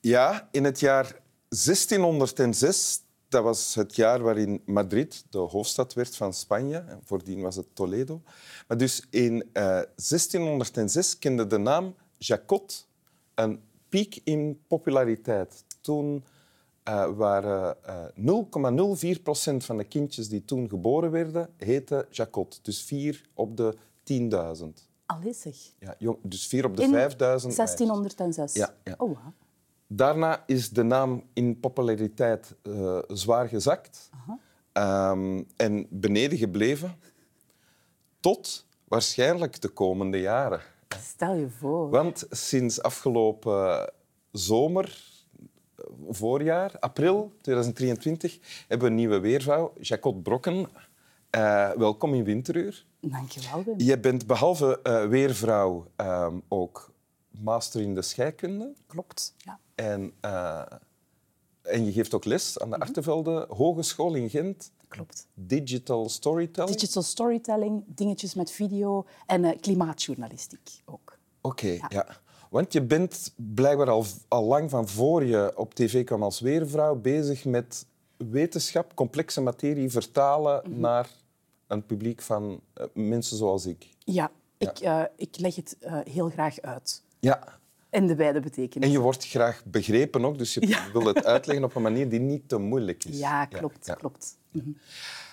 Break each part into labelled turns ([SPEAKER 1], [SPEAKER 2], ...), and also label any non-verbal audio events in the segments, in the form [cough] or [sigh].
[SPEAKER 1] Ja, in het jaar 1606, dat was het jaar waarin Madrid de hoofdstad werd van Spanje. En Voordien was het Toledo. Maar dus in eh, 1606 kende de naam Jacot een piek in populariteit. Toen eh, waren eh 0,04 procent van de kindjes die toen geboren werden, heten Jacot. Dus vier op de 10.000.
[SPEAKER 2] Allee zeg.
[SPEAKER 1] Ja, jong- dus vier op de
[SPEAKER 2] In
[SPEAKER 1] 5.000. meisjes.
[SPEAKER 2] 1606.
[SPEAKER 1] Ja, ja.
[SPEAKER 2] Oh, wauw.
[SPEAKER 1] Daarna is de naam in populariteit eh, zwaar gezakt Ehm, en beneden gebleven tot waarschijnlijk de komende jaren.
[SPEAKER 2] Stel je voor.
[SPEAKER 1] Want sinds afgelopen zomer, eh, voorjaar, april 2023, hebben we een nieuwe weervrouw, Jacot Brokken. Eh, welkom in Winteruur.
[SPEAKER 2] Dankjewel, Wim.
[SPEAKER 1] Je bent behalve eh, weervrouw ehm, ook master in de scheikunde.
[SPEAKER 2] Klopt. Ja.
[SPEAKER 1] En, eh, en je geeft ook les aan de Artevelde Hogeschool in Gent.
[SPEAKER 2] Mhm. Klopt.
[SPEAKER 1] Digital storytelling.
[SPEAKER 2] Digital storytelling, dingetjes met video en eh, klimaatjournalistiek ook.
[SPEAKER 1] Oké, ja. Want je bent blijkbaar al, al lang van voor je op tv kwam als weervrouw bezig met wetenschap, complexe materie vertalen
[SPEAKER 2] Mhm.
[SPEAKER 1] naar een publiek van eh, mensen zoals ik.
[SPEAKER 2] Ja, ik, eh, ik leg het eh, heel graag uit.
[SPEAKER 1] Ja.
[SPEAKER 2] In de wijde betekenis.
[SPEAKER 1] En je wordt graag begrepen ook, dus je wil het uitleggen op een manier die niet te moeilijk is.
[SPEAKER 2] Ja, klopt,
[SPEAKER 1] ja.
[SPEAKER 2] klopt.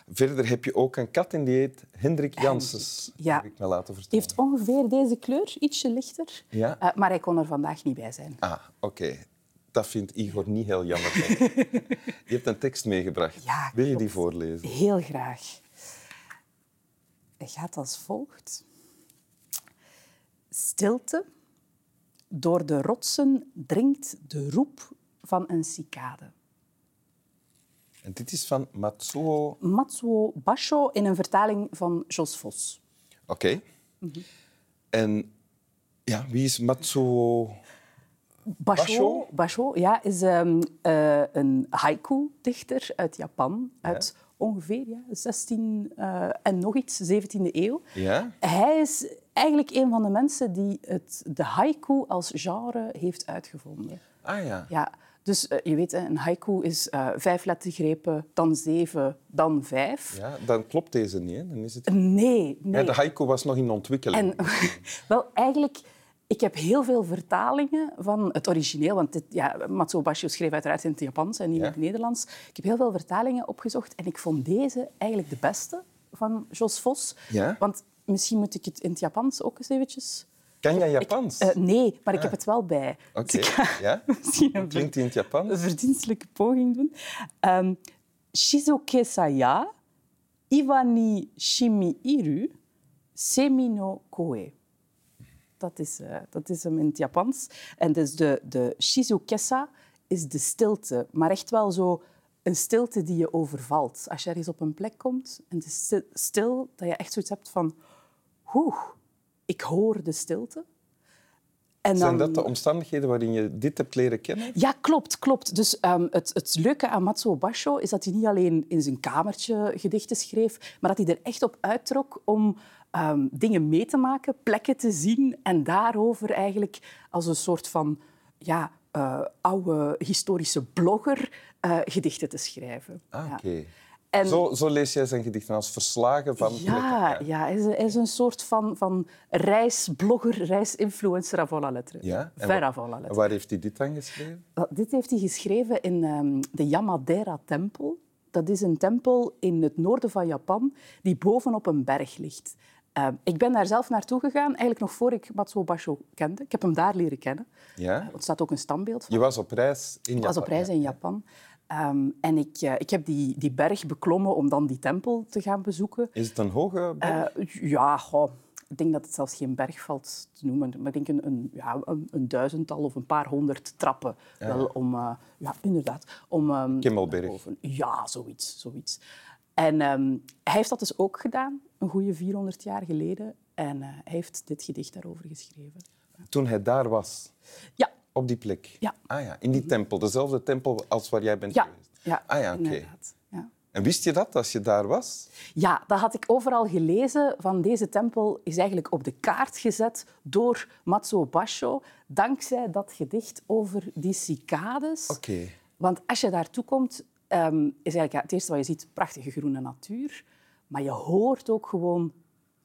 [SPEAKER 1] Verder heb je ook een kat in die heet Hendrik Janssens.
[SPEAKER 2] ja.
[SPEAKER 1] Heb ik me laten vertellen.
[SPEAKER 2] Heeft ongeveer deze kleur, ietsje lichter.
[SPEAKER 1] Ja.
[SPEAKER 2] Eh, maar hij kon er vandaag niet bij zijn.
[SPEAKER 1] Ah, oké. Dat vindt Igor niet heel
[SPEAKER 2] [laughs]
[SPEAKER 1] jammer. denk ik. je hebt een tekst meegebracht.
[SPEAKER 2] Ja,
[SPEAKER 1] Wil je die
[SPEAKER 2] klopt.
[SPEAKER 1] voorlezen?
[SPEAKER 2] Heel graag. Het gaat als volgt. Stilte. Door de rotsen dringt de roep van een cicade.
[SPEAKER 1] En dit is van Matsuo. Oké.
[SPEAKER 2] Matsuo Basho in een vertaling van Jos Vos. Mhm.
[SPEAKER 1] En ja, wie is Matsuo? Basho?
[SPEAKER 2] Basho, Basho ja, is ehm, eh, een haiku-dichter uit Japan, uit ongeveer ja, 16 eh, en nog iets, 17e eeuw.
[SPEAKER 1] Ja?
[SPEAKER 2] Hij is eigenlijk een van de mensen die het, de haiku als genre heeft uitgevonden.
[SPEAKER 1] Ah ja.
[SPEAKER 2] Ja, dus eh, je weet, hè, een haiku is eh vijf lettergrepen, dan zeven, dan vijf.
[SPEAKER 1] ja. Dan klopt deze niet, hè? Dan is het...
[SPEAKER 2] Nee, nee.
[SPEAKER 1] Ja, de haiku was nog in ontwikkeling.
[SPEAKER 2] En [laughs] wel, eigenlijk, ik heb heel veel vertalingen van het origineel. Want dit, ja, Matsuo Bashio schreef uiteraard in het Japans en niet
[SPEAKER 1] Ja.
[SPEAKER 2] in het Nederlands. Ik heb heel veel vertalingen opgezocht en ik vond deze eigenlijk de beste van Jos Vos.
[SPEAKER 1] Ja?
[SPEAKER 2] Want misschien moet ik het in het Japans ook eens eventjes...
[SPEAKER 1] Kan jij Japans? Ah.
[SPEAKER 2] Eh, nee, maar ik heb het wel bij.
[SPEAKER 1] Oké,
[SPEAKER 2] Dus ik ga
[SPEAKER 1] ja?
[SPEAKER 2] [laughs] misschien een
[SPEAKER 1] Klinkt die in het
[SPEAKER 2] een
[SPEAKER 1] Japans?
[SPEAKER 2] verdienstelijke poging doen. Ehm Shizuke saya, Iwani shimiiru, semino koe. Dat is, eh, dat is hem in het Japans. En dus de, de shizukesa is de stilte, maar echt wel zo een stilte die je overvalt. Als je ergens op een plek komt en het is sti- stil, dat je echt zoiets hebt van... Oeh, ik hoor de stilte. En
[SPEAKER 1] Zijn dat de omstandigheden waarin je dit hebt leren kennen?
[SPEAKER 2] ja, klopt, klopt. Dus ehm, het, het leuke aan Matsuo Basho is dat hij niet alleen in zijn kamertje gedichten schreef, maar dat hij er echt op uittrok om ehm, dingen mee te maken, plekken te zien en daarover eigenlijk als een soort van ja, eh, oude historische blogger eh, gedichten te schrijven.
[SPEAKER 1] Ah,
[SPEAKER 2] Ja.
[SPEAKER 1] oké.
[SPEAKER 2] En-
[SPEAKER 1] Zo, zo lees jij zijn gedichten als verslagen van...
[SPEAKER 2] Ja, ja hij, is, hij is een soort van, van reisblogger, reisinfluencer à vola lettre.
[SPEAKER 1] Ja? En
[SPEAKER 2] Ver
[SPEAKER 1] wa-
[SPEAKER 2] à vola
[SPEAKER 1] en
[SPEAKER 2] lettre.
[SPEAKER 1] waar heeft hij dit dan geschreven?
[SPEAKER 2] Wel, Dit heeft hij geschreven in ehm, de Yamadera-tempel. Dat is een tempel in het noorden van Japan die bovenop een berg ligt. Ehm, ik ben daar zelf naartoe gegaan, eigenlijk nog voor ik Matsuo Basho kende. Ik heb hem daar leren kennen.
[SPEAKER 1] Ja?
[SPEAKER 2] Er staat ook een standbeeld van.
[SPEAKER 1] Je was op reis in
[SPEAKER 2] Ik was op reis in Japan. Ehm, en ik, eh, ik heb die, die berg beklommen om dan die tempel te gaan bezoeken.
[SPEAKER 1] Is het een hoge berg?
[SPEAKER 2] Eh, ja, goh, ik denk dat het zelfs geen berg valt te noemen. Maar ik denk een, een, ja, een, een duizendtal of een paar honderd trappen. Wel om, eh, ja, inderdaad. Om, ehm,
[SPEAKER 1] Kimmelberg.
[SPEAKER 2] boven- Ja, zoiets. zoiets. En ehm, hij heeft dat dus ook gedaan, een goede 400 jaar geleden. En eh, hij heeft dit gedicht daarover geschreven.
[SPEAKER 1] Toen hij daar was,
[SPEAKER 2] Ja,
[SPEAKER 1] op die plek?
[SPEAKER 2] Ja.
[SPEAKER 1] Ah ja, in die tempel. Dezelfde tempel als waar jij bent
[SPEAKER 2] ja,
[SPEAKER 1] geweest?
[SPEAKER 2] ja
[SPEAKER 1] Ah ja, oké.
[SPEAKER 2] inderdaad. Ja.
[SPEAKER 1] En wist je dat als je daar was?
[SPEAKER 2] Ja, dat had ik overal gelezen. Van deze tempel is eigenlijk op de kaart gezet door Matsuo Basho, dankzij dat gedicht over die cicades.
[SPEAKER 1] Oké.
[SPEAKER 2] Want als je daartoe komt, ehm, is eigenlijk ja, het eerste wat je ziet prachtige groene natuur. Maar je hoort ook gewoon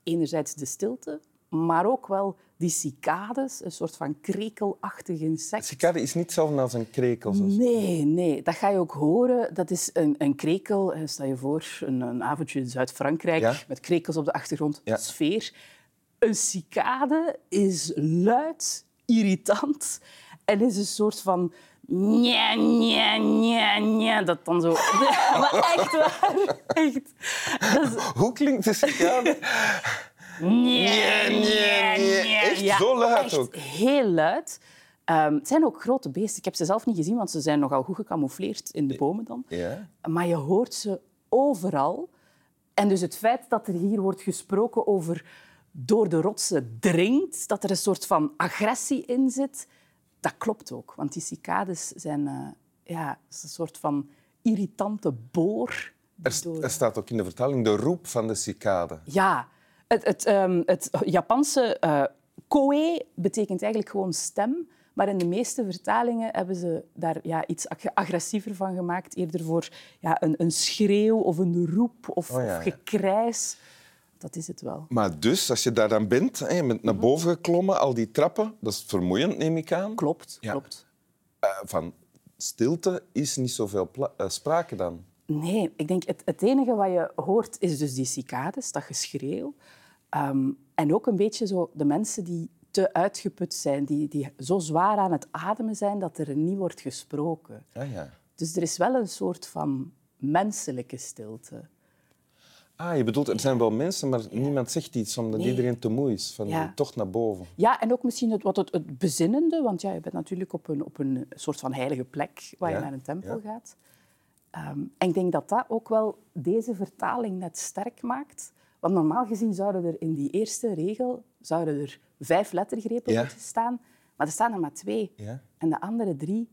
[SPEAKER 2] enerzijds de stilte, maar ook wel die cicades, een soort van krekelachtig insect.
[SPEAKER 1] Cicade is niet hetzelfde als een krekel.
[SPEAKER 2] Mm.
[SPEAKER 1] zoals-
[SPEAKER 2] Nee, nee, dat ga je ook horen. Dat is een, een krekel. Eh, Stel je voor, een, een avondje in Zuid-Frankrijk
[SPEAKER 1] Ja.
[SPEAKER 2] met krekels op de achtergrond,
[SPEAKER 1] Ja.
[SPEAKER 2] sfeer. Een cicade is luid, irritant en is een soort van. Nja, nja, nja, nja, dat dan zo. [laughs] maar echt waar. Echt. Dat is.
[SPEAKER 1] Hoe klinkt de
[SPEAKER 2] [laughs]
[SPEAKER 1] cicade?
[SPEAKER 2] Nja,
[SPEAKER 1] nja, nja. Echt zo luid
[SPEAKER 2] echt
[SPEAKER 1] ook?
[SPEAKER 2] Heel luid. Ehm, het zijn ook grote beesten. Ik heb ze zelf niet gezien, want ze zijn nogal goed gecamoufleerd in de bomen dan.
[SPEAKER 1] ja.
[SPEAKER 2] Maar je hoort ze overal. En dus het feit dat er hier wordt gesproken over door de rotsen dringt, dat er een soort van agressie in zit, dat klopt ook. Want die cicades zijn eh, ja, is een soort van irritante boor. die
[SPEAKER 1] Er, st-
[SPEAKER 2] door-
[SPEAKER 1] er staat ook in de vertaling de roep van de cicade.
[SPEAKER 2] Ja, het, het, ehm, het Japanse eh koe betekent eigenlijk gewoon stem. Maar in de meeste vertalingen hebben ze daar ja, iets ag- agressiever van gemaakt. Eerder voor ja, een, een schreeuw of een roep of,
[SPEAKER 1] Oh ja,
[SPEAKER 2] of
[SPEAKER 1] ja.
[SPEAKER 2] gekrijs. Dat is het wel.
[SPEAKER 1] Maar dus, als je daar dan bent, hè, je bent
[SPEAKER 2] Mhm.
[SPEAKER 1] naar boven geklommen, al die trappen, dat is vermoeiend, neem ik aan.
[SPEAKER 2] Klopt,
[SPEAKER 1] Ja.
[SPEAKER 2] klopt.
[SPEAKER 1] Eh, van stilte is niet zoveel pla- eh, sprake dan.
[SPEAKER 2] Nee, ik denk het, het enige wat je hoort is dus die cicades, dat geschreeuw. Ehm, en ook een beetje zo de mensen die te uitgeput zijn, die, die zo zwaar aan het ademen zijn dat er niet wordt gesproken.
[SPEAKER 1] Ah ja.
[SPEAKER 2] Dus er is wel een soort van menselijke stilte.
[SPEAKER 1] Ah, je bedoelt, er zijn wel mensen, maar niemand zegt iets omdat iedereen te moe is. Van
[SPEAKER 2] Ja.
[SPEAKER 1] die tocht naar boven.
[SPEAKER 2] Ja, en ook misschien het, wat het, het bezinnende, want ja, je bent natuurlijk op een, op een soort van heilige plek waar
[SPEAKER 1] Ja,
[SPEAKER 2] je naar een tempel gaat. Ehm, en ik denk dat dat ook wel deze vertaling net sterk maakt. Want normaal gezien zouden er in die eerste regel zouden er vijf lettergrepen
[SPEAKER 1] Ja.
[SPEAKER 2] moeten staan, maar er staan er maar twee.
[SPEAKER 1] Ja.
[SPEAKER 2] En de andere drie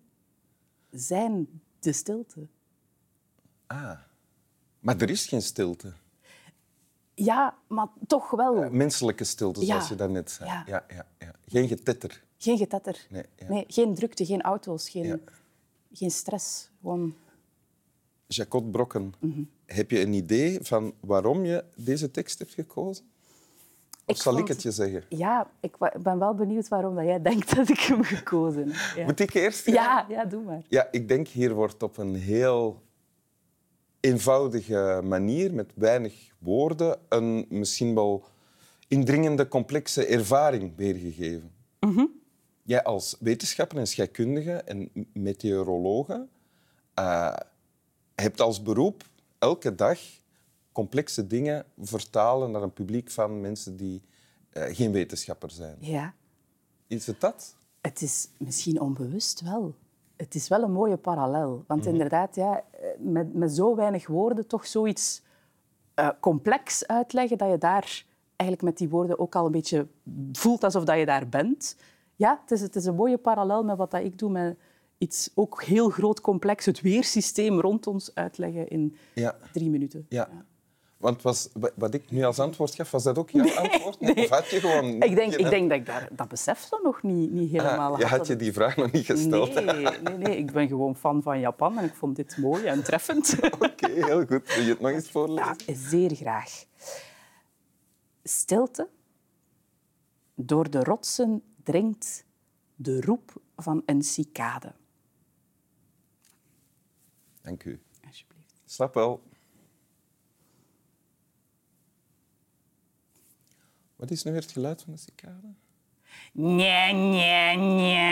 [SPEAKER 2] zijn de stilte.
[SPEAKER 1] Ah. Maar er is geen stilte.
[SPEAKER 2] Ja, maar toch wel.
[SPEAKER 1] Menselijke stilte,
[SPEAKER 2] Oh. Ja.
[SPEAKER 1] zoals je daarnet zei.
[SPEAKER 2] Ja.
[SPEAKER 1] Ja, ja, ja. Geen getetter.
[SPEAKER 2] Geen getetter.
[SPEAKER 1] Nee, ja.
[SPEAKER 2] geen drukte, geen auto's, geen,
[SPEAKER 1] Ja.
[SPEAKER 2] geen stress. Gewoon...
[SPEAKER 1] Jacot Brokken,
[SPEAKER 2] Mhm.
[SPEAKER 1] heb je een idee van waarom je deze tekst hebt gekozen? Of
[SPEAKER 2] Ik
[SPEAKER 1] zal ik
[SPEAKER 2] vond-
[SPEAKER 1] het je zeggen?
[SPEAKER 2] Ja, ik wa- ben wel benieuwd waarom dat jij denkt [laughs] dat ik hem gekozen heb. Ja.
[SPEAKER 1] Moet ik eerst?
[SPEAKER 2] Ja, ja, doe maar.
[SPEAKER 1] Ja, ik denk hier wordt op een heel eenvoudige manier, met weinig woorden, een misschien wel indringende, complexe ervaring weergegeven. Jij als wetenschapper en scheikundige en m- meteorologe eh, hebt als beroep elke dag complexe dingen vertalen naar een publiek van mensen die eh, geen wetenschapper zijn.
[SPEAKER 2] Ja,
[SPEAKER 1] Is het dat?
[SPEAKER 2] het is misschien onbewust wel. Het is wel een mooie parallel. Want
[SPEAKER 1] Mhm.
[SPEAKER 2] inderdaad, ja, eh, met, met zo weinig woorden toch zoiets eh, complex uitleggen dat je daar eigenlijk met die woorden ook al een beetje voelt alsof dat je daar bent. Ja, het is, het is een mooie parallel met wat dat ik doe met iets ook heel groot complex, het weersysteem rond ons uitleggen in
[SPEAKER 1] Ja.
[SPEAKER 2] drie minuten.
[SPEAKER 1] Ja. Want was, wa- wat ik nu als antwoord gaf, was dat ook jouw antwoord? Nee, Of had je gewoon...
[SPEAKER 2] Ik denk, ik denk dat ik daar, dat besef dan nog niet, niet helemaal
[SPEAKER 1] Ah, je had
[SPEAKER 2] dat
[SPEAKER 1] je
[SPEAKER 2] het-
[SPEAKER 1] die vraag nog niet gesteld.
[SPEAKER 2] Nee, nee, nee, ik ben gewoon fan van Japan en ik vond dit mooi en treffend.
[SPEAKER 1] Oké, heel goed. Wil je het nog eens voorlezen?
[SPEAKER 2] Ja, zeer graag. Stilte. Door de rotsen dringt de roep van een cicade.
[SPEAKER 1] Dank u.
[SPEAKER 2] Alsjeblieft.
[SPEAKER 1] Slap wel. Wat is nu weer het geluid van de cicade?
[SPEAKER 2] Nja, nja, nja,